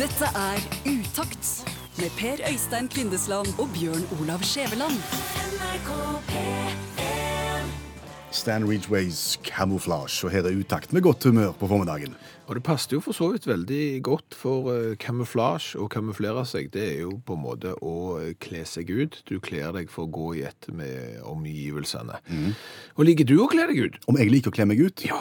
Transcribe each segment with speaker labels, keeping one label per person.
Speaker 1: Dette er Utakt med Per Øystein Kvindesland og Bjørn Olav Skjæveland.
Speaker 2: Stan Ridgeways Camouflage, og her er utakt med godt humør på formiddagen.
Speaker 3: Og det passet jo for så vidt veldig godt, for eh, kamuflasje og kamuflere seg, det er jo på en måte å eh, kle seg ut. Du kler deg for å gå i ett med omgivelsene. Og liker du å kle deg ut?
Speaker 2: Om jeg liker å kle meg ut?
Speaker 3: Ja.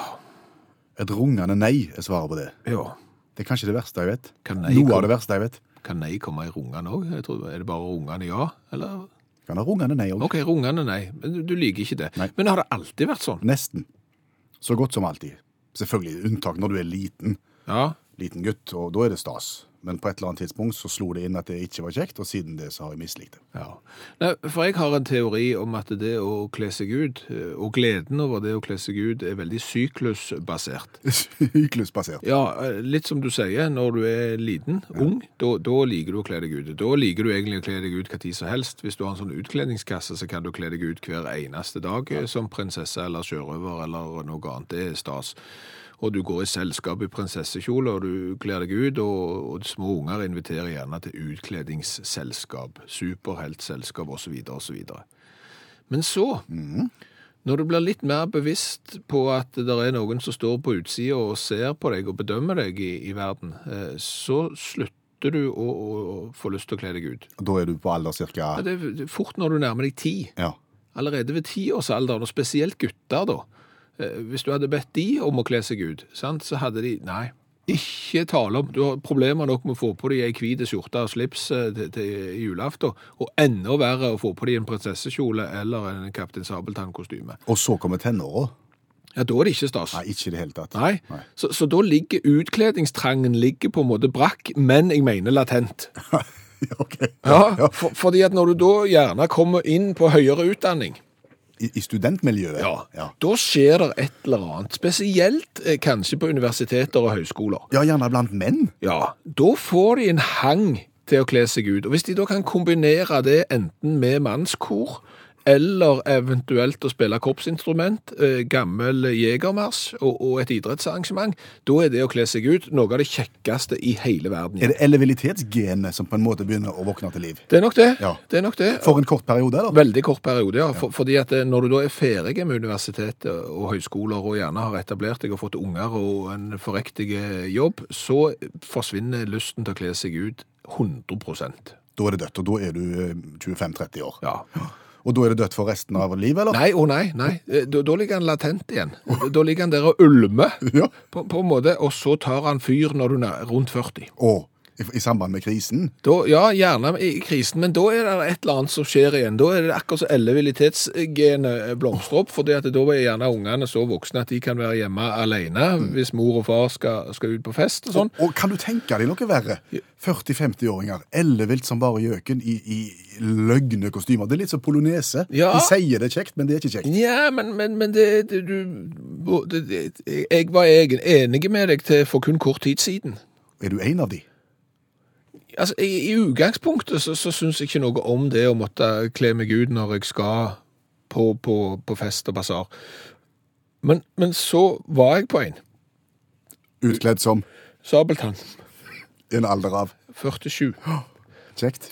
Speaker 2: Et rungende nei er svaret på det.
Speaker 3: Ja.
Speaker 2: Det er kanskje det verste jeg vet.
Speaker 3: Kan nei
Speaker 2: Noe
Speaker 3: komme-
Speaker 2: av det verste jeg vet.
Speaker 3: Kan nei komme i rungene òg? Er det bare rungende ja, eller?
Speaker 2: Kan ha rungende nei òg.
Speaker 3: OK, rungende nei, men du- du liker ikke det.
Speaker 2: Nei.
Speaker 3: Men har det alltid vært sånn?
Speaker 2: Nesten. Så godt som alltid. Selvfølgelig unntak når du er liten.
Speaker 3: Ja.
Speaker 2: Liten gutt, og da er det stas. Men på et eller annet tidspunkt så slo det inn at det ikke var kjekt, og siden det så har jeg mislikt det.
Speaker 3: Ja. Nei, for jeg har en teori om at det å kle seg ut, eh, og gleden over det å kle seg ut, er veldig syklusbasert.
Speaker 2: Syklusbasert.
Speaker 3: Ja, eh, litt som du sier, når du er liten, ung, da, da liker du å kle deg ut. Da liker du egentlig å kle deg ut hva tid som helst. Hvis du har en sånn utkledningskasse, så kan du kle deg ut hver eneste dag eh, som prinsesse eller sjørøver eller noe annet. Det er stas. Og du går i selskap i prinsessekjole, og du kler deg ut, og, og små unger inviterer gjerne til utkledningsselskap, superheltselskap osv. osv. Men så når du blir litt mer bevisst på at det er noen som står på utsida og ser på deg og bedømmer deg i, i verden, eh, så slutter du å, å, å få lyst til å kle deg ut.
Speaker 2: Og Da er du på alder cirka
Speaker 3: Ja, det er fort når du nærmer deg ti.
Speaker 2: Ja.
Speaker 3: Allerede ved tiårsalderen, og spesielt gutter, da. Eh, Hvis du hadde bedt de om å kle seg ut, sant, så hadde de Nei, ikke tale om Du har problemer nok med å få på deg ei hvit skjorte og slips eh, til, til julaften, og enda verre å få på deg en prinsessekjole eller en Kaptein Sabeltann-kostyme.
Speaker 2: Og så kommer tenåra.
Speaker 3: Ja, da er det ikke stas.
Speaker 2: Nei, ikke i det hele tatt.
Speaker 3: Nei, Så, så da ligger utkledningstrangen ligger på en måte brakk, men jeg mener latent.
Speaker 2: OK.
Speaker 3: Ja, for, fordi at når du da gjerne kommer inn på høyere utdanning,
Speaker 2: I, i studentmiljøet?
Speaker 3: ja,
Speaker 2: ja.
Speaker 3: da skjer det et eller annet, spesielt eh, kanskje på universiteter og høyskoler.
Speaker 2: Ja, gjerne blant menn.
Speaker 3: Ja, da får de en hang til å kle seg ut, og hvis de da kan kombinere det enten med mannskor, eller eventuelt å spille korpsinstrument, eh, gammel jegermarsj og, og et idrettsarrangement, da er det å kle seg ut noe av det kjekkeste i hele verden.
Speaker 2: Er det elevalitetsgenet som på en måte begynner å våkne til liv?
Speaker 3: Det er nok det.
Speaker 2: Ja.
Speaker 3: Det er nok det.
Speaker 2: For en kort periode, eller?
Speaker 3: Veldig kort periode, ja. For, fordi at eh, når du da er ferdig med universitetet og høyskoler, og gjerne har etablert deg og fått unger og en forrektig eh, jobb, så forsvinner lysten til å kle seg ut 100
Speaker 2: Da er det dødt, og da er du eh, 25-30 år.
Speaker 3: Ja.
Speaker 2: Og da er det dødt for resten av livet, eller?
Speaker 3: Nei, å nei, nei. Eh, Da, da ligger han latent igjen. Da ligger han der og ulmer,
Speaker 2: Ja.
Speaker 3: på, på en måte, og så tar han fyr når du er rundt 40.
Speaker 2: Og i, i samband med krisen?
Speaker 3: Da, ja, gjerne i krisen, men da er det et eller annet som skjer igjen. Da er det akkurat som ellevilitetsgenet blomstrer opp, for da er gjerne ungene så voksne at de kan være hjemme alene hvis mor og far skal, skal ut på fest og sånn.
Speaker 2: Og, og kan du tenke deg noe verre? 40-50-åringer, ellevilt som bare gjøken, i, i løgne kostymer. Det er litt som polonese.
Speaker 3: Ja.
Speaker 2: De sier det er kjekt, men det er ikke kjekt.
Speaker 3: Ja, men, men, men det, det, du det, det, Jeg var egen- enig med deg til for kun kort tid siden.
Speaker 2: Er du en av de?
Speaker 3: Altså, i, I utgangspunktet så, så syns jeg ikke noe om det å måtte kle meg ut når jeg skal på, på, på fest og basar. Men, men så var jeg på en.
Speaker 2: Utkledd som
Speaker 3: Sabeltann,
Speaker 2: en alder av
Speaker 3: 47.
Speaker 2: kjekt?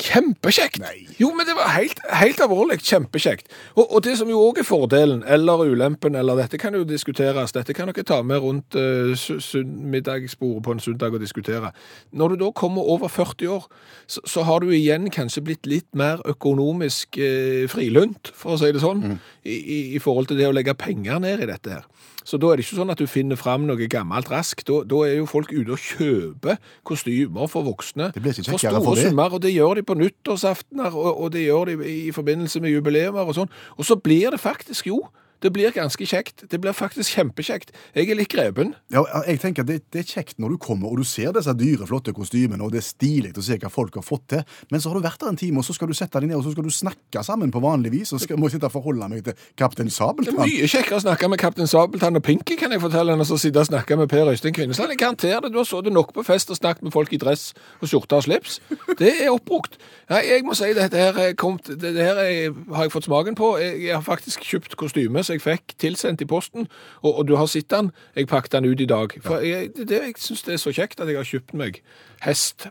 Speaker 3: Kjempekjekt!
Speaker 2: Nei.
Speaker 3: Jo, men det var helt, helt alvorlig kjempekjekt. Og, og det som jo òg er fordelen, eller ulempen, eller dette kan jo diskuteres, dette kan dere ta med rundt eh, su- su- middagsbordet på en søndag og diskutere. Når du da kommer over 40 år, så, så har du igjen kanskje blitt litt mer økonomisk eh, frilunt, for å si det sånn, i, i, i forhold til det å legge penger ned i dette her. Så da er det ikke sånn at du finner fram noe gammelt raskt. Da, da er jo folk ute og kjøper kostymer for voksne.
Speaker 2: Det blir ikke
Speaker 3: for
Speaker 2: kjekkere
Speaker 3: store
Speaker 2: for det.
Speaker 3: summer mer, og det gjør de på nyttårsaftener, og, og det gjør de i, i forbindelse med jubileumer og sånn. Og så blir det faktisk, jo, det blir ganske kjekt. Det blir faktisk kjempekjekt. Jeg er litt grepen.
Speaker 2: Ja, jeg tenker at det, det er kjekt når du kommer og du ser disse dyre, flotte kostymene, og det er stilig å se hva folk har fått til, men så har du vært der en time, og så skal du sette deg ned, og så skal du snakke sammen på vanlig vis, og så skal, må jeg sitte og forholde meg til kaptein
Speaker 3: Det er
Speaker 2: Sabeltann.
Speaker 3: mye kjekkere å snakke med Kaptein Sabeltann og Pinky, kan jeg fortelle, enn å sitte og snakke med Per Øystein Kvinnesland. Jeg garanterer det, du har sittet nok på fest og snakket med folk i dress og skjorte og slips. Det er oppbrukt. Nei, jeg må si dette her, er kommet, det det her er, har jeg fått smaken på. Jeg, jeg har faktisk kjøpt kostyme, så som jeg fikk tilsendt i posten, og, og du har sett den. Jeg pakket den ut i dag. For jeg, det, det- jeg syns det er så kjekt at jeg har kjøpt meg hest.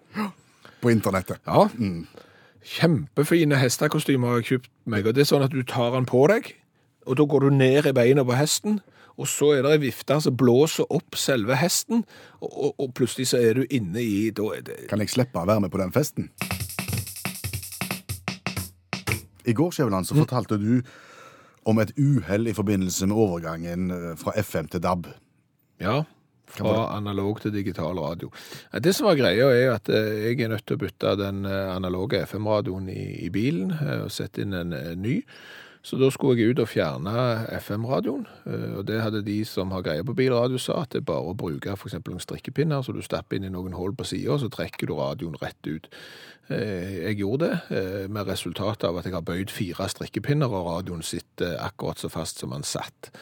Speaker 2: på internettet.
Speaker 3: Ja. Kjempefine hestekostymer har jeg kjøpt meg, og det er sånn at du tar den på deg, og da går du ned i beina på hesten, og så er det en vifte som blåser opp selve hesten, og, og, og plutselig så er du inne i da er det,
Speaker 2: Kan jeg slippe å være med på den festen? I går Skjæveland,
Speaker 3: Mm.
Speaker 2: så fortalte du om et uhell i forbindelse med overgangen eh, fra FM til DAB.
Speaker 3: Ja, fra analog til digital radio. Ja, Det som var greia, er at eh, jeg er nødt til å bytte den eh, analoge FM-radioen i, i bilen eh, og sette inn en eh, ny. Så da skulle jeg ut og fjerne FM-radioen, eh, og det hadde de som har greie på bilradio sa, at det er bare å bruke for eksempel noen strikkepinner, så du stapper inn i noen hål på siden, og så trekker du radioen rett ut. Eh, Jeg gjorde det, eh, med resultatet av at jeg har bøyd fire strikkepinner, og radioen sitter eh, akkurat så fast som den satt.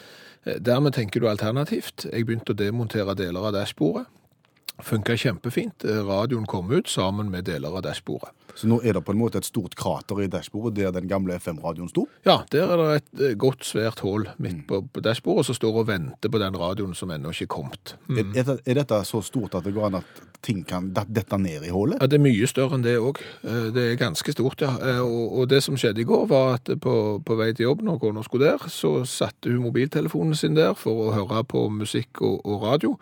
Speaker 3: Eh, Dermed tenker du alternativt. Jeg begynte å demontere deler av dashbordet. Funka kjempefint. Eh, Radioen kom ut sammen med deler av dashbordet.
Speaker 2: Så nå er det på en måte et stort krater i dashbordet der den gamle FM-radioen sto.
Speaker 3: Ja, der er det et eh, godt, svært hull midt på, på dashbordet som står og venter på den radioen som ennå ikke er kommet.
Speaker 2: Er, er det- er dette så stort at det går an at ting kan det- dette ned i hullet?
Speaker 3: Ja, Det er mye større enn det òg. Det er ganske stort, ja. Eh, Og, og det som skjedde i går, var at på, på vei til jobb når kona skulle der, så satte hun mobiltelefonen sin der for å høre på musikk og, og radio.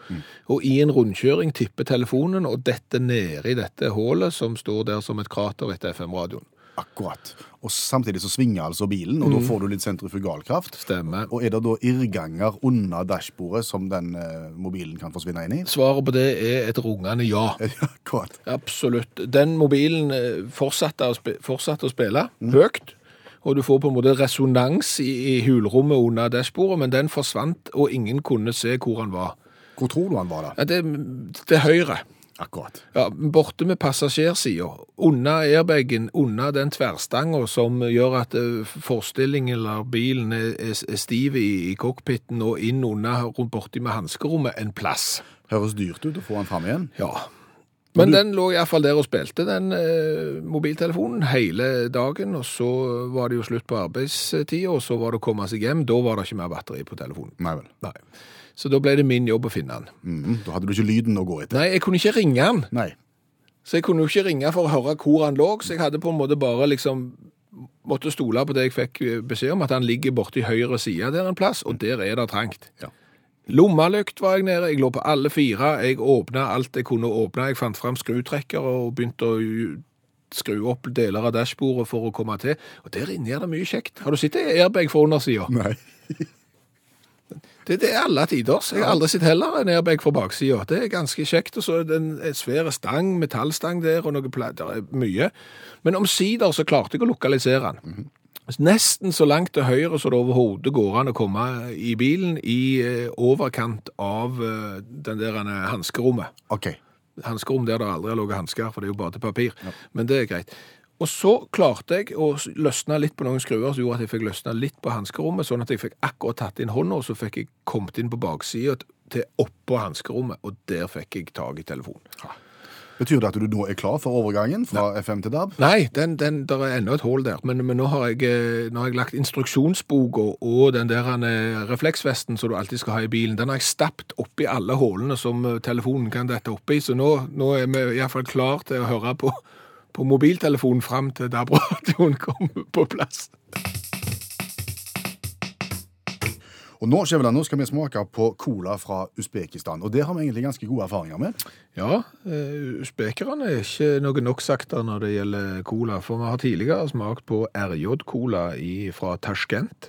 Speaker 3: Og i en rundkjøring tipper telefonen og detter ned i dette hullet som står der som et krater etter FM-radioen.
Speaker 2: Akkurat. Og samtidig så svinger altså bilen, og da får du litt sentrifugalkraft.
Speaker 3: Stemmer.
Speaker 2: Og er det da irrganger under dashbordet som den eh, mobilen kan forsvinne inn i?
Speaker 3: Svaret på det er et rungende ja.
Speaker 2: Ja, Akkurat.
Speaker 3: Absolutt. Den mobilen eh, fortsatte å, spe- fortsatte å spille høyt, og du får på en måte resonans i, i hulrommet under dashbordet, men den forsvant, og ingen kunne se hvor han var.
Speaker 2: Hvor tror du han var da?
Speaker 3: Ja, det, det er høyre.
Speaker 2: Akkurat.
Speaker 3: Ja, borte med passasjersida. Unna airbagen, unna den tverrstanga som gjør at eh, forstillingen eller bilen er, er, er stiv i, i cockpiten, og inn unna rundt borti med hanskerommet en plass.
Speaker 2: Høres dyrt ut å få han fram igjen.
Speaker 3: Ja. Men den lå iallfall der og spilte, den eh, mobiltelefonen, hele dagen. Og så var det jo slutt på arbeidstida, og så var det å komme seg hjem. Da var det ikke mer batteri på telefonen.
Speaker 2: Nei vel.
Speaker 3: Nei. Så da ble det min jobb å finne den.
Speaker 2: Mhm, Da hadde du ikke lyden å gå etter.
Speaker 3: Nei, jeg kunne ikke ringe den,
Speaker 2: Nei.
Speaker 3: så jeg kunne jo ikke ringe for å høre hvor han lå. Så jeg hadde på en måte bare liksom Måtte stole på det jeg fikk eh, beskjed om, at han ligger borti høyre side der en plass, og der er det trangt.
Speaker 2: Ja.
Speaker 3: Lommelykt var jeg nede, jeg lå på alle fire, jeg åpna alt jeg kunne åpne, jeg fant fram skrutrekker og begynte å ju- skru opp deler av dashbordet for å komme til, og der inne er det mye kjekt. Har du sett det airbag fra undersida?
Speaker 2: Nei.
Speaker 3: Det, det er alle tiders. Jeg har aldri sett heller en airbag fra baksida. Det er ganske kjekt. Og så er det en en svær stang, metallstang der, og noe pla- der er mye. Men omsider så klarte jeg å lokalisere den. Nesten så langt til høyre som det overhodet går an å komme i bilen, i eh, overkant av eh, den der eh, hanskerommet
Speaker 2: Ok.
Speaker 3: hanskerom der det aldri har ligget hansker, for det er jo bare til papir. Men det er greit. Og så klarte jeg å s- løsne litt på noen skruer, som gjorde at jeg fikk løsna litt på hanskerommet, sånn at jeg fikk akkurat tatt inn hånda, og så fikk jeg kommet inn på baksida t- til oppå hanskerommet, og der fikk jeg tak i telefonen.
Speaker 2: Betyr det at du nå er klar for overgangen fra FM til DAB?
Speaker 3: Nei, den, den, der er ennå et hull der, men, men nå, har jeg, eh, nå har jeg lagt instruksjonsboka og den der eh, refleksvesten som du alltid skal ha i bilen, den har jeg stappet oppi alle hullene som eh, telefonen kan dette oppi, så nå, nå er vi iallfall klar til å høre på, på mobiltelefonen fram til DAB-radioen kommer på plass.
Speaker 2: Og nå, Skjæveland, nå skal vi smake på cola fra Usbekistan, og det har vi egentlig ganske gode erfaringer med.
Speaker 3: Ja, eh, usbekerne er ikke noe nok sakte når det gjelder cola, for vi har tidligere smakt på RJ-cola i- fra Tashkent.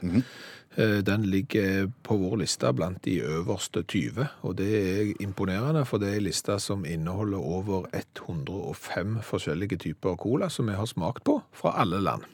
Speaker 3: Eh, Den ligger på vår liste blant de øverste 20, og det er imponerende, for det er en liste som inneholder over 105 forskjellige typer cola som vi har smakt på fra alle land.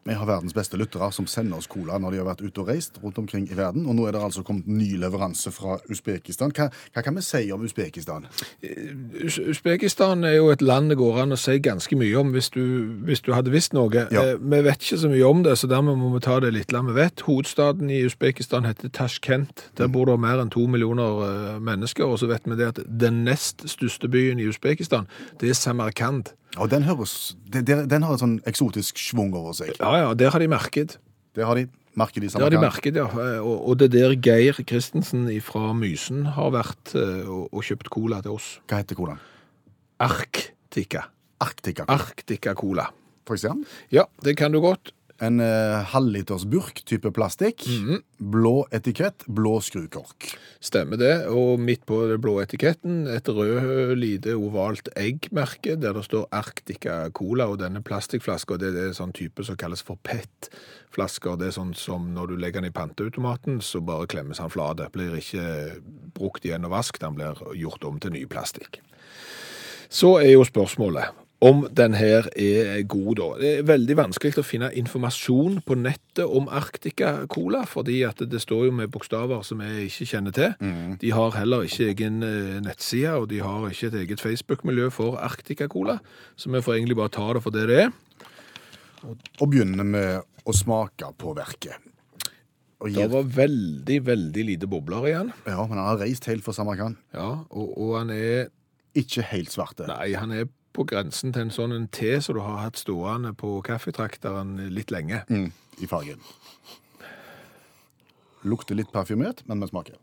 Speaker 2: Vi har verdens beste lyttere som sender oss cola når de har vært ute og reist rundt omkring i verden, og nå er det altså kommet ny leveranse fra Usbekistan. Hva, hva kan vi si om Usbekistan?
Speaker 3: Us- Usbekistan er jo et land det går an å si ganske mye om hvis du, hvis du hadde visst noe.
Speaker 2: Ja.
Speaker 3: Eh, Vi vet ikke så mye om det, så dermed må vi ta det litt la vi vet. Hovedstaden i Usbekistan heter Tashkent.
Speaker 2: Mm.
Speaker 3: Der bor det mer enn to millioner eh, mennesker, og så vet vi det at den nest største byen i Usbekistan, det er Samarkand.
Speaker 2: Ja, den, høres, den, den har et sånn eksotisk schwung over seg.
Speaker 3: Ja, ja, der har de merket.
Speaker 2: Det har de. Merker de
Speaker 3: Ja, de
Speaker 2: samarkand?
Speaker 3: merker det. ja. Eh, Og og det er der Geir Christensen fra Mysen har vært eh, og og kjøpt cola til oss.
Speaker 2: Hva heter hvordan?
Speaker 3: Arktika.
Speaker 2: Arktika.
Speaker 3: Arktika Cola.
Speaker 2: For eksempel.
Speaker 3: Ja, det kan du godt.
Speaker 2: En eh, halvliters burk type plastikk. Blå etikett, blå skrukork.
Speaker 3: Stemmer det. Og midt på det blå etiketten et rød, lite ovalt eggmerke der det står Arctica Cola. Og denne plastikkflaska det er en sånn type som kalles for PET-flasker. Det er sånn som når du legger den i panteautomaten, så bare klemmes han flat. Blir ikke brukt igjen og vasket, han blir gjort om til ny plastikk. Så er jo spørsmålet om den her er god, da. Det er veldig vanskelig å finne informasjon på nettet om Arctica Cola, fordi at det står jo med bokstaver som jeg ikke kjenner til. De har heller ikke egen eh, nettside, og de har ikke et eget Facebook-miljø for Arctica Cola, så vi får egentlig bare ta det for det det er.
Speaker 2: Og begynner med å smake på verket. Og
Speaker 3: Det
Speaker 2: gir,
Speaker 3: var veldig, veldig lite bobler igjen.
Speaker 2: ja, men han har reist helt for Samarkand.
Speaker 3: Ja, og, og han er
Speaker 2: Ikke helt svarte.
Speaker 3: Nei, han er på grensen til en sånn en te som du har hatt stående på kaffetrakteren litt lenge.
Speaker 2: Mm, I fargen. Lukter litt parfymert, men vi smaker.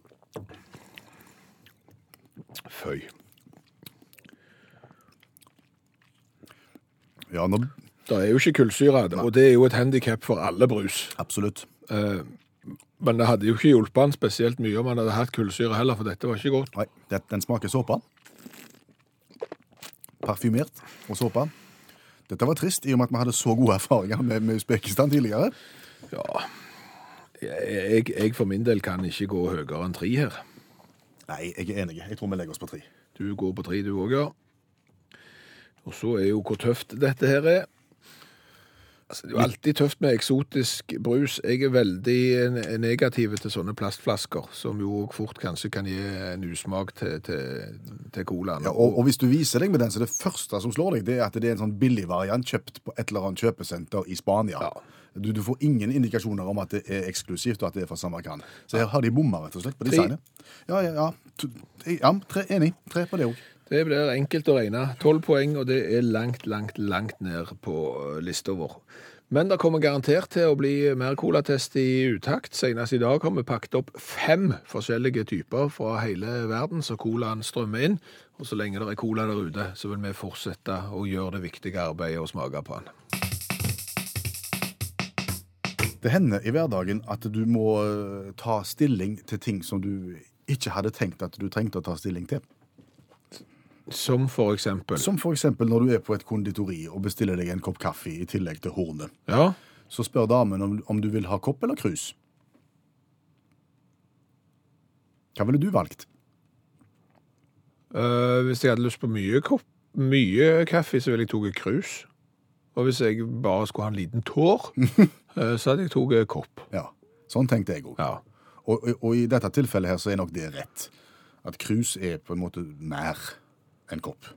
Speaker 3: Føy.
Speaker 2: Ja, nå,
Speaker 3: Det er jo ikke kullsyre, og det er jo et handikap for alle brus.
Speaker 2: absolutt.
Speaker 3: Eh, Men det hadde jo ikke hjulpet han spesielt mye om han hadde hatt kullsyre heller, for dette var ikke godt.
Speaker 2: Nei, det, den smaker såpe. Parfymert og såpe. Dette var trist, i og med at vi hadde så gode erfaringer med, med Usbekistan tidligere.
Speaker 3: Ja, jeg, jeg for min del kan ikke gå høyere enn tre her.
Speaker 2: Nei, jeg er enig. Jeg tror vi legger oss på tre.
Speaker 3: Du går på tre, du òg, ja. Og så er jo hvor tøft dette her er. Altså, det er jo alltid tøft med eksotisk brus. Jeg er veldig eh, negativ til sånne plastflasker, som jo også fort kanskje kan gi en usmak til, til, til colaen.
Speaker 2: Ja, og, og hvis du viser deg med den, så er det første som slår deg, det er at det er en sånn billig variant kjøpt på et eller annet kjøpesenter i Spania.
Speaker 3: Ja.
Speaker 2: Du, du får ingen indikasjoner om at det er eksklusivt, og at det er fra Samarkand. Så her har de bomma, rett og slett, på
Speaker 3: Tre.
Speaker 2: designet. Ja, ja, ja. To- ja tre, enig. Tre på det òg.
Speaker 3: Det blir enkelt å regne. Tolv poeng, og det er langt, langt, langt ned på eh, lista vår. Men det kommer garantert til å bli mer colatest i utakt. Senest i dag har vi pakket opp fem forskjellige typer fra hele verden, så colaen strømmer inn. Og så lenge det er cola der ute, så vil vi fortsette å gjøre det viktige arbeidet og smake på den.
Speaker 2: Det hender i hverdagen at du må eh, ta stilling til ting som du ikke hadde tenkt at du trengte å ta stilling til.
Speaker 3: Som for eksempel
Speaker 2: Som f.eks. når du er på et konditori og bestiller deg en kopp kaffe i tillegg til hornet.
Speaker 3: Ja,
Speaker 2: Så spør damen om, om du vil ha kopp eller krus. Hva ville du valgt?
Speaker 3: øh, hvis jeg hadde lyst på mye, kopp, mye kaffe, så ville jeg tatt krus. Og hvis jeg bare skulle ha en liten tår, øh, så hadde jeg tatt kopp.
Speaker 2: Ja, Sånn tenkte jeg òg.
Speaker 3: Ja.
Speaker 2: Og, og, og i dette tilfellet her så er nok det rett. At krus er på en måte nær en kopp.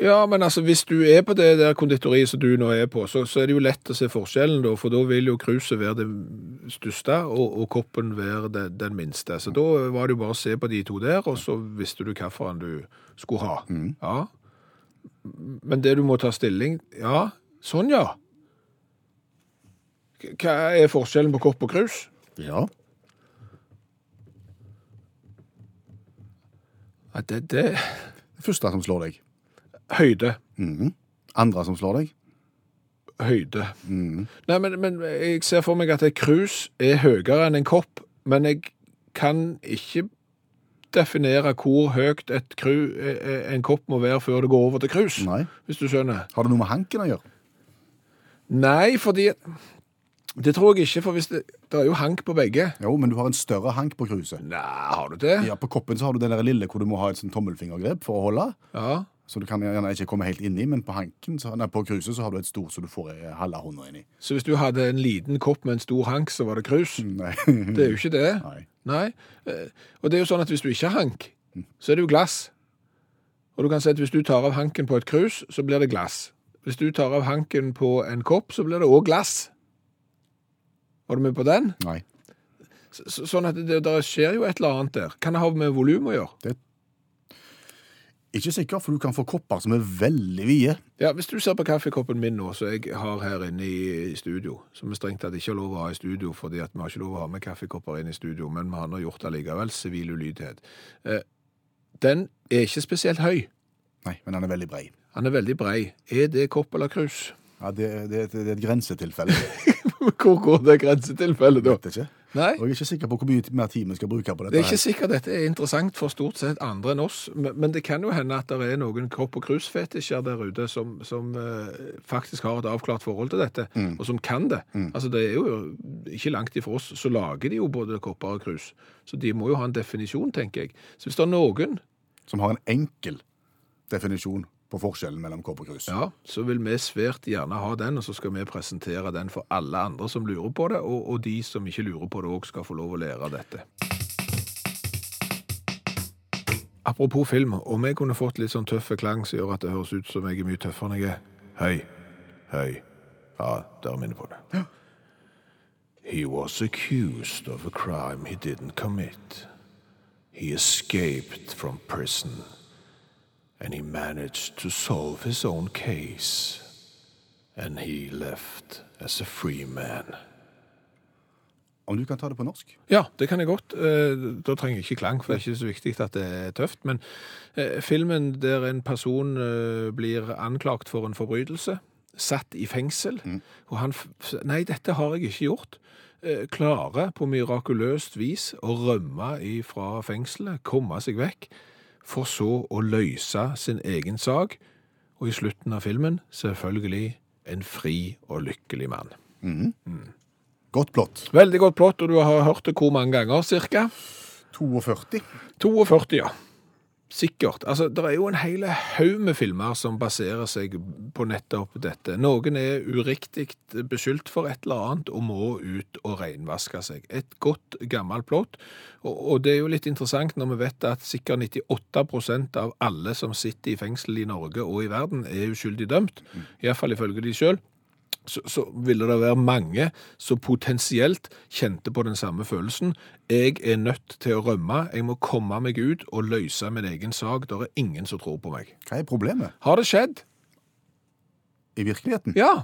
Speaker 3: ja, men altså, hvis du er på det der konditoriet som du nå er på, så, så er det jo lett å se forskjellen, da, for da vil jo kruset være det største, og, og koppen være det, den minste. Så da var det jo bare å se på de to der, og så visste du hvilken du skulle ha. Ja. Men det du må ta stilling Ja, sånn, ja. K- Hva er forskjellen på kopp og krus?
Speaker 2: Ja.
Speaker 3: Nei, Det, det
Speaker 2: Første som slår deg.
Speaker 3: Høyde.
Speaker 2: Mhm. Andre som slår deg.
Speaker 3: høyde.
Speaker 2: Mm.
Speaker 3: Nei, men, men jeg ser for meg at et krus er høyere enn en kopp, men jeg kan ikke definere hvor høyt et kru, eh, en kopp må være før det går over til krus,
Speaker 2: Nei.
Speaker 3: hvis du skjønner.
Speaker 2: Har det noe med hanken å gjøre?
Speaker 3: Nei, fordi Det tror jeg ikke, for hvis det, det er jo hank på begge.
Speaker 2: Jo, men du har en større hank på kruset.
Speaker 3: Nei, har du det?
Speaker 2: Ja, På koppen så har du den der lille hvor du må ha et sånn tommelfingergrep for å holde.
Speaker 3: ja.
Speaker 2: Så du kan gjerne ikke komme helt inni, men på hanken, så, nei, på kruset så har du et stort så du får eh, halve hånda inni.
Speaker 3: Så hvis du hadde en liten kopp med en stor hank, så var det krus?
Speaker 2: Nei.
Speaker 3: Det er jo ikke det.
Speaker 2: Nei.
Speaker 3: Nei. Eh, Og det er jo sånn at hvis du ikke har hank, så er det jo glass. Og du kan si at hvis du tar av hanken på et krus, så blir det glass. Hvis du tar av hanken på en kopp, så blir det òg glass. Var du med på den?
Speaker 2: Nei.
Speaker 3: Så- så- Sånn at det, der skjer jo et eller annet der. Kan det ha med volum å gjøre?
Speaker 2: Ikke sikker, for du kan få kopper som er veldig vide.
Speaker 3: Ja, Hvis du ser på kaffekoppen min nå, som jeg har her inne i, i studio, som vi strengt tatt ikke har lov å ha i studio, fordi at vi har ikke lov å ha med kaffekopper inn i studio, men vi har nå gjort det likevel, sivil ulydighet, eh, den er ikke spesielt høy.
Speaker 2: Nei, men den er veldig brei.
Speaker 3: Han er veldig brei. Er det kopp eller krus?
Speaker 2: Ja, det, det, det er et grensetilfelle.
Speaker 3: Hvor går det grensetilfellet da?
Speaker 2: Vet ikke.
Speaker 3: Nei,
Speaker 2: Og jeg er ikke sikker på hvor mye mer tid vi skal bruke på dette.
Speaker 3: det er ikke
Speaker 2: her.
Speaker 3: sikkert dette er interessant for stort sett andre enn oss, men, men det kan jo hende at det er noen kropp- og krusfetisjer der ute som, som eh, faktisk har et avklart forhold til dette,
Speaker 2: Mm.
Speaker 3: og som kan det. Altså, det er jo ikke langt ifra oss, så lager de jo både kopper og krus, så de må jo ha en definisjon, tenker jeg. Så hvis det er noen,
Speaker 2: Som har en enkel definisjon på forskjellen mellom kopp og krus.
Speaker 3: ja, så vil vi svært gjerne ha den, og så skal vi presentere den for alle andre som lurer på det, og, og de som ikke lurer på det også skal få lov å lære av dette. Apropos film, om jeg kunne fått litt sånn tøffe klang som gjør at det høres ut som jeg er mye tøffere enn jeg er. Høy, høy. Ja, dere minner på det. He was accused of a crime he didn't commit. He escaped from prison. and he managed to solve his own case. And he left as a free man.
Speaker 2: Om du kan ta det på norsk?
Speaker 3: Ja, det kan jeg godt. Eh, Da trenger jeg ikke klang, for det er ikke så viktig at det er tøft. Men eh, filmen der en person eh, blir anklagt for en forbrytelse, satt i fengsel, og han f- s- Nei, dette har jeg ikke gjort. Eh, Klarer på mirakuløst vis å rømme fra fengselet, komme seg vekk, for så å løse sin egen sak, og i slutten av filmen selvfølgelig en fri og lykkelig mann.
Speaker 2: Godt plott.
Speaker 3: Veldig godt plott, og du har hørt det hvor mange ganger, cirka?
Speaker 2: 42.
Speaker 3: 42, ja. Sikkert. Altså, det er jo en hel haug med filmer som baserer seg på nettopp dette. Noen er uriktig beskyldt for et eller annet og må ut og renvaske seg. Et godt, gammelt plott. Og, og det er jo litt interessant når vi vet at sikkert 98 av alle som sitter i fengsel i Norge og i verden, er uskyldig dømt. Iallfall ifølge de sjøl så, så ville det være mange som potensielt kjente på den samme følelsen. Jeg er nødt til å rømme, jeg må komme meg ut og løse min egen sak. Det er ingen som tror på meg.
Speaker 2: Hva er problemet
Speaker 3: Har det skjedd?
Speaker 2: i virkeligheten?
Speaker 3: Ja.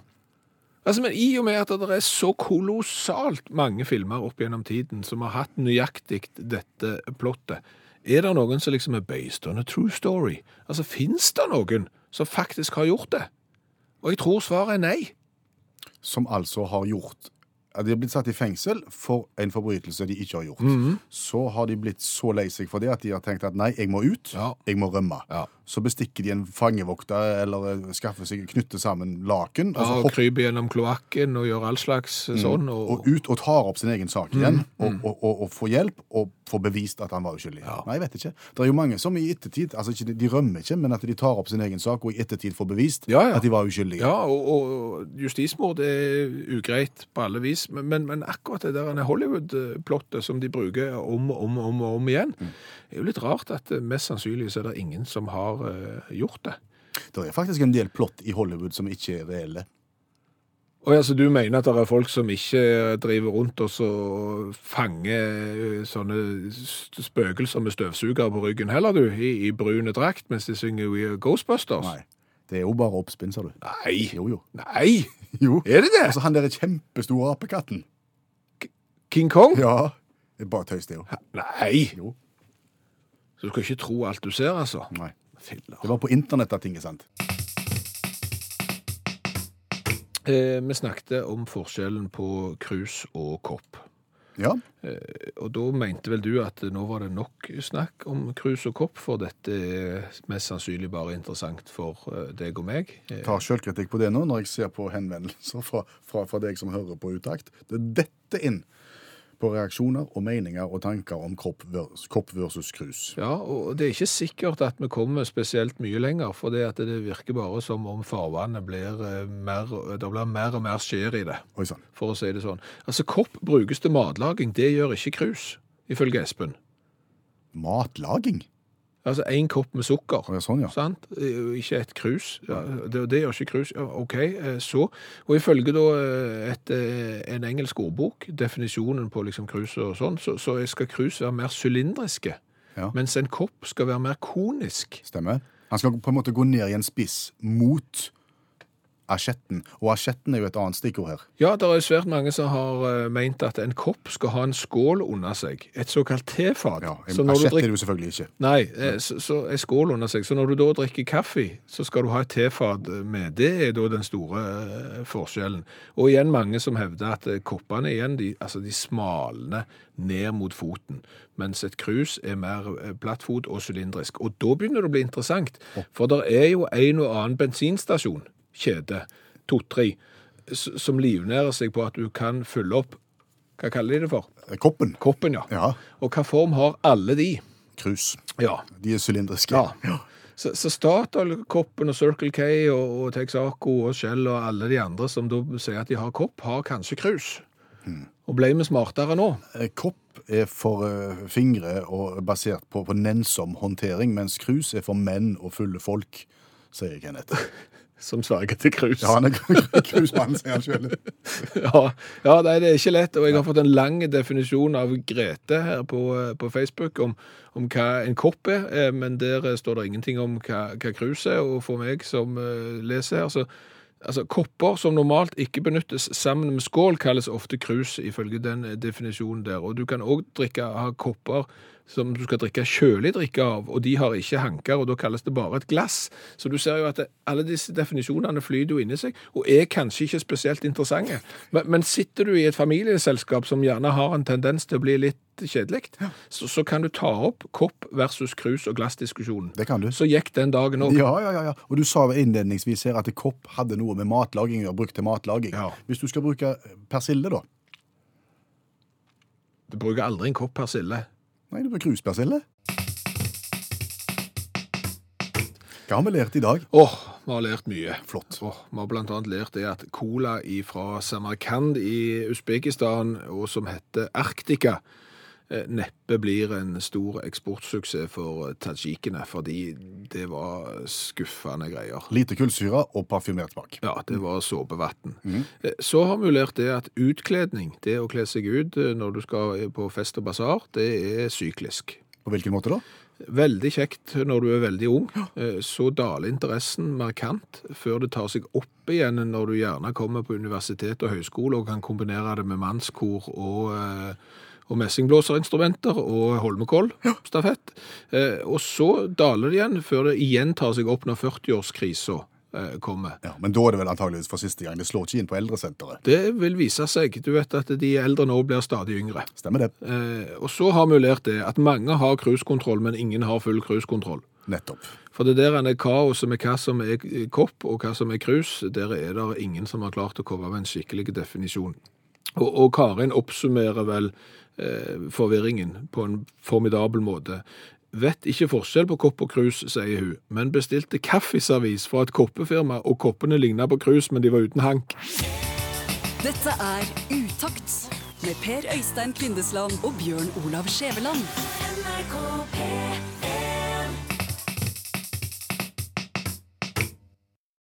Speaker 3: Altså, men I og med at det er så kolossalt mange filmer opp gjennom tiden som har hatt nøyaktig dette plottet, er det noen som liksom er based on a true story? Altså, Fins det noen som faktisk har gjort det? Og jeg tror svaret er nei.
Speaker 2: Som altså har gjort ja, De har blitt satt i fengsel for en forbrytelse de ikke har gjort.
Speaker 3: Mhm.
Speaker 2: Så har de blitt så lei seg for det at de har tenkt at nei, jeg må ut,
Speaker 3: Ja.
Speaker 2: jeg må rømme.
Speaker 3: Ja.
Speaker 2: Så bestikker de en fangevokter eller eh, skaffer seg knytter sammen laken.
Speaker 3: Ja,
Speaker 2: Altså
Speaker 3: og kryper gjennom kloakken og gjør all slags sånn. Og,
Speaker 2: og ut og tar opp sin egen sak igjen, og, og, og, og får hjelp og får bevist at han var uskyldig.
Speaker 3: Mhm. Ja.
Speaker 2: Nei, jeg vet ikke. Det er jo mange som i ettertid, altså ikke, de rømmer ikke, men at de tar opp sin egen sak og i ettertid får bevist
Speaker 3: Ja, ja.
Speaker 2: at de var uskyldige.
Speaker 3: ja, og, og justismord er ugreit på alle vis, men, men, men akkurat det der Hollywood-plottet som de bruker om og om, og om, og om igjen, er jo litt rart at eh, mest sannsynlig så er det ingen som har eh, gjort det.
Speaker 2: Det er faktisk en del plott i Hollywood som ikke er reelle.
Speaker 3: Og altså, Du mener at det er folk som ikke driver rundt og så fanger eh, sånne st- spøkelser med støvsugere på ryggen heller, du, i, i brune drakt, mens de synger We Are Ghostbusters?
Speaker 2: Nei. Det er jo bare oppspinn, sa du.
Speaker 3: Nei.
Speaker 2: Jo, jo.
Speaker 3: Nei!
Speaker 2: Jo.
Speaker 3: Er det det?
Speaker 2: Altså, han der er kjempestor apekatten.
Speaker 3: King Kong?
Speaker 2: Ja. Det er bare tøys, det jo.
Speaker 3: Nei!
Speaker 2: Jo.
Speaker 3: Så du skal ikke tro alt du ser, altså?
Speaker 2: Nei.
Speaker 3: Filler.
Speaker 2: Det var på internett at ting er sant.
Speaker 3: Eh, vi snakket om forskjellen på krus og kopp. Eh,
Speaker 2: Ja.
Speaker 3: Og da mente vel du at nå var det nok snakk om krus og kopp, for dette er mest sannsynlig bare interessant for eh, deg og meg. Eh,
Speaker 2: tar sjølkritikk på det nå, når jeg ser på henvendelser fra, fra, fra deg som hører på Utakt. Det er dette inn på reaksjoner og meninger og tanker om kropp versus, kropp versus krus.
Speaker 3: Ja, og det er ikke sikkert at vi kommer spesielt mye lenger, for det, at det virker bare som om farvannet blir eh, mer, det blir mer og mer skjer i det.
Speaker 2: Oi sann.
Speaker 3: for å si det sånn. Altså, kopp brukes til matlaging, det gjør ikke krus, ifølge Espen.
Speaker 2: Matlaging?
Speaker 3: Altså, én kopp med sukker,
Speaker 2: Å ja, sånn, ja.
Speaker 3: sant? Eh, ikke et krus. Ja, det, det gjør ikke krus. Ja, OK, eh, så. Og ifølge da eh, et, eh, en engelsk ordbok, definisjonen på liksom krus og sånn, så, så skal krus være mer sylindriske,
Speaker 2: Ja.
Speaker 3: mens en kopp skal være mer konisk.
Speaker 2: Stemmer. Han skal på en måte gå ned i en spiss mot asjetten. Og asjetten er jo et annet stikkord her.
Speaker 3: Ja, det er svært mange som har eh, meint at en kopp skal ha en skål under seg. Et såkalt tefat.
Speaker 2: Ja, en
Speaker 3: Så når du
Speaker 2: asjett
Speaker 3: drikker-
Speaker 2: er det jo selvfølgelig ikke.
Speaker 3: Nei, eh, så, så er skål under seg. Så når du da drikker kaffe, så skal du ha et tefat med. Det er da den store eh, forskjellen. Og igjen mange som hevder at eh, koppene igjen, de, altså de smalner ned mot foten, mens et krus er mer eh, plattfot og sylindrisk. Og da begynner det å bli interessant, for det er jo en og annen bensinstasjon, kjede, to-tre, s- som livnærer seg på at du kan fylle opp, hva kaller de det for?
Speaker 2: Eh, Koppen.
Speaker 3: Koppen, ja.
Speaker 2: Ja.
Speaker 3: Og hva form har alle de?
Speaker 2: Krus.
Speaker 3: Ja,
Speaker 2: De er sylindriske.
Speaker 3: ja. Så, så Statoil-koppen og Circle K og, og Texaco og Shell og alle de andre som da sier at de har kopp, har kanskje krus. Og ble vi smartere nå?
Speaker 2: Eh, Kopp er for eh, fingre og basert på, på nensom håndtering, mens krus er for menn og fulle folk, sier Kenneth.
Speaker 3: Som sverger til krus.
Speaker 2: Ja, han er krusmann, sier han sjøl.
Speaker 3: ja, ja, nei, det er ikke lett. Og jeg har fått en lang definisjon av Grete her på, eh, på Facebook om, om hva en kopp er, eh, men der eh, står det ingenting om hva, hva krus er. Og for meg som eh, leser her, så Altså, Kopper som normalt ikke benyttes sammen med skål, kalles ofte krus, ifølge den eh, definisjonen der. Og Du kan òg ha kopper som du skal drikke kjølig drikke av, og de har ikke hanker, og da kalles det bare et glass. Så du ser jo at det, alle disse definisjonene flyter jo inni seg, og er kanskje ikke spesielt interessante. Men, men sitter du i et familieselskap som gjerne har en tendens til å bli litt kjedelig, så, så kan du ta opp kopp versus krus og glassdiskusjonen.
Speaker 2: Det kan du.
Speaker 3: Så gikk den dagen òg.
Speaker 2: Ja, ja, ja, ja. Og du sa jo innledningsvis her at kopp hadde noe med matlaging å gjøre, brukt til matlaging.
Speaker 3: Ja.
Speaker 2: Hvis du skal bruke eh, persille, da?
Speaker 3: Du bruker aldri en kopp persille.
Speaker 2: Nei, det blir kruspersille. Hva har vi lært i dag?
Speaker 3: Åh, vi har lært mye.
Speaker 2: Flott.
Speaker 3: Åh, vi har blant annet lært det at cola fra Samarkand i Usbekistan, og som heter Arktika, eh, neppe blir en stor eksportsuksess for tadsjikene, fordi det var skuffende greier.
Speaker 2: Lite kullsyre og parfymert smak.
Speaker 3: Ja, det var såpevann. Eh, Så har vi lært det at utkledning, det å kle seg ut eh, når du skal på fest og basar, det er syklisk.
Speaker 2: På hvilken måte da?
Speaker 3: Veldig kjekt når du er veldig ung. Eh, Så daler interessen markant før det tar seg opp igjen når du gjerne kommer på universitet og høyskole og kan kombinere det med mannskor og, eh, og messingblåserinstrumenter og Holmenkoll-stafett. Eh, Og så daler det igjen før det igjen tar seg opp når 40-årskrisa eh, kommer.
Speaker 2: Ja, Men da er det vel antageligvis for siste gang. Det slår ikke inn på eldresenteret.
Speaker 3: Det vil vise seg. Du vet at de eldre nå blir stadig yngre.
Speaker 2: Stemmer det.
Speaker 3: Eh, Og så har vi lært det at mange har cruisekontroll, men ingen har full cruisekontroll.
Speaker 2: Nettopp.
Speaker 3: For det der er kaoset med hva som er kopp og hva som er krus, der er det ingen som har klart å komme med en skikkelig definisjon. Og, og Karin oppsummerer vel eh, forvirringen på en formidabel måte. Vet ikke forskjell på kopp og krus, sier hun, men bestilte kaffeservis fra et koppefirma, og koppene lignet på krus, men de var uten hank.
Speaker 1: Dette er Utakt med Per Øystein Kvindesland og Bjørn Olav Skjæveland.
Speaker 4: NRK P3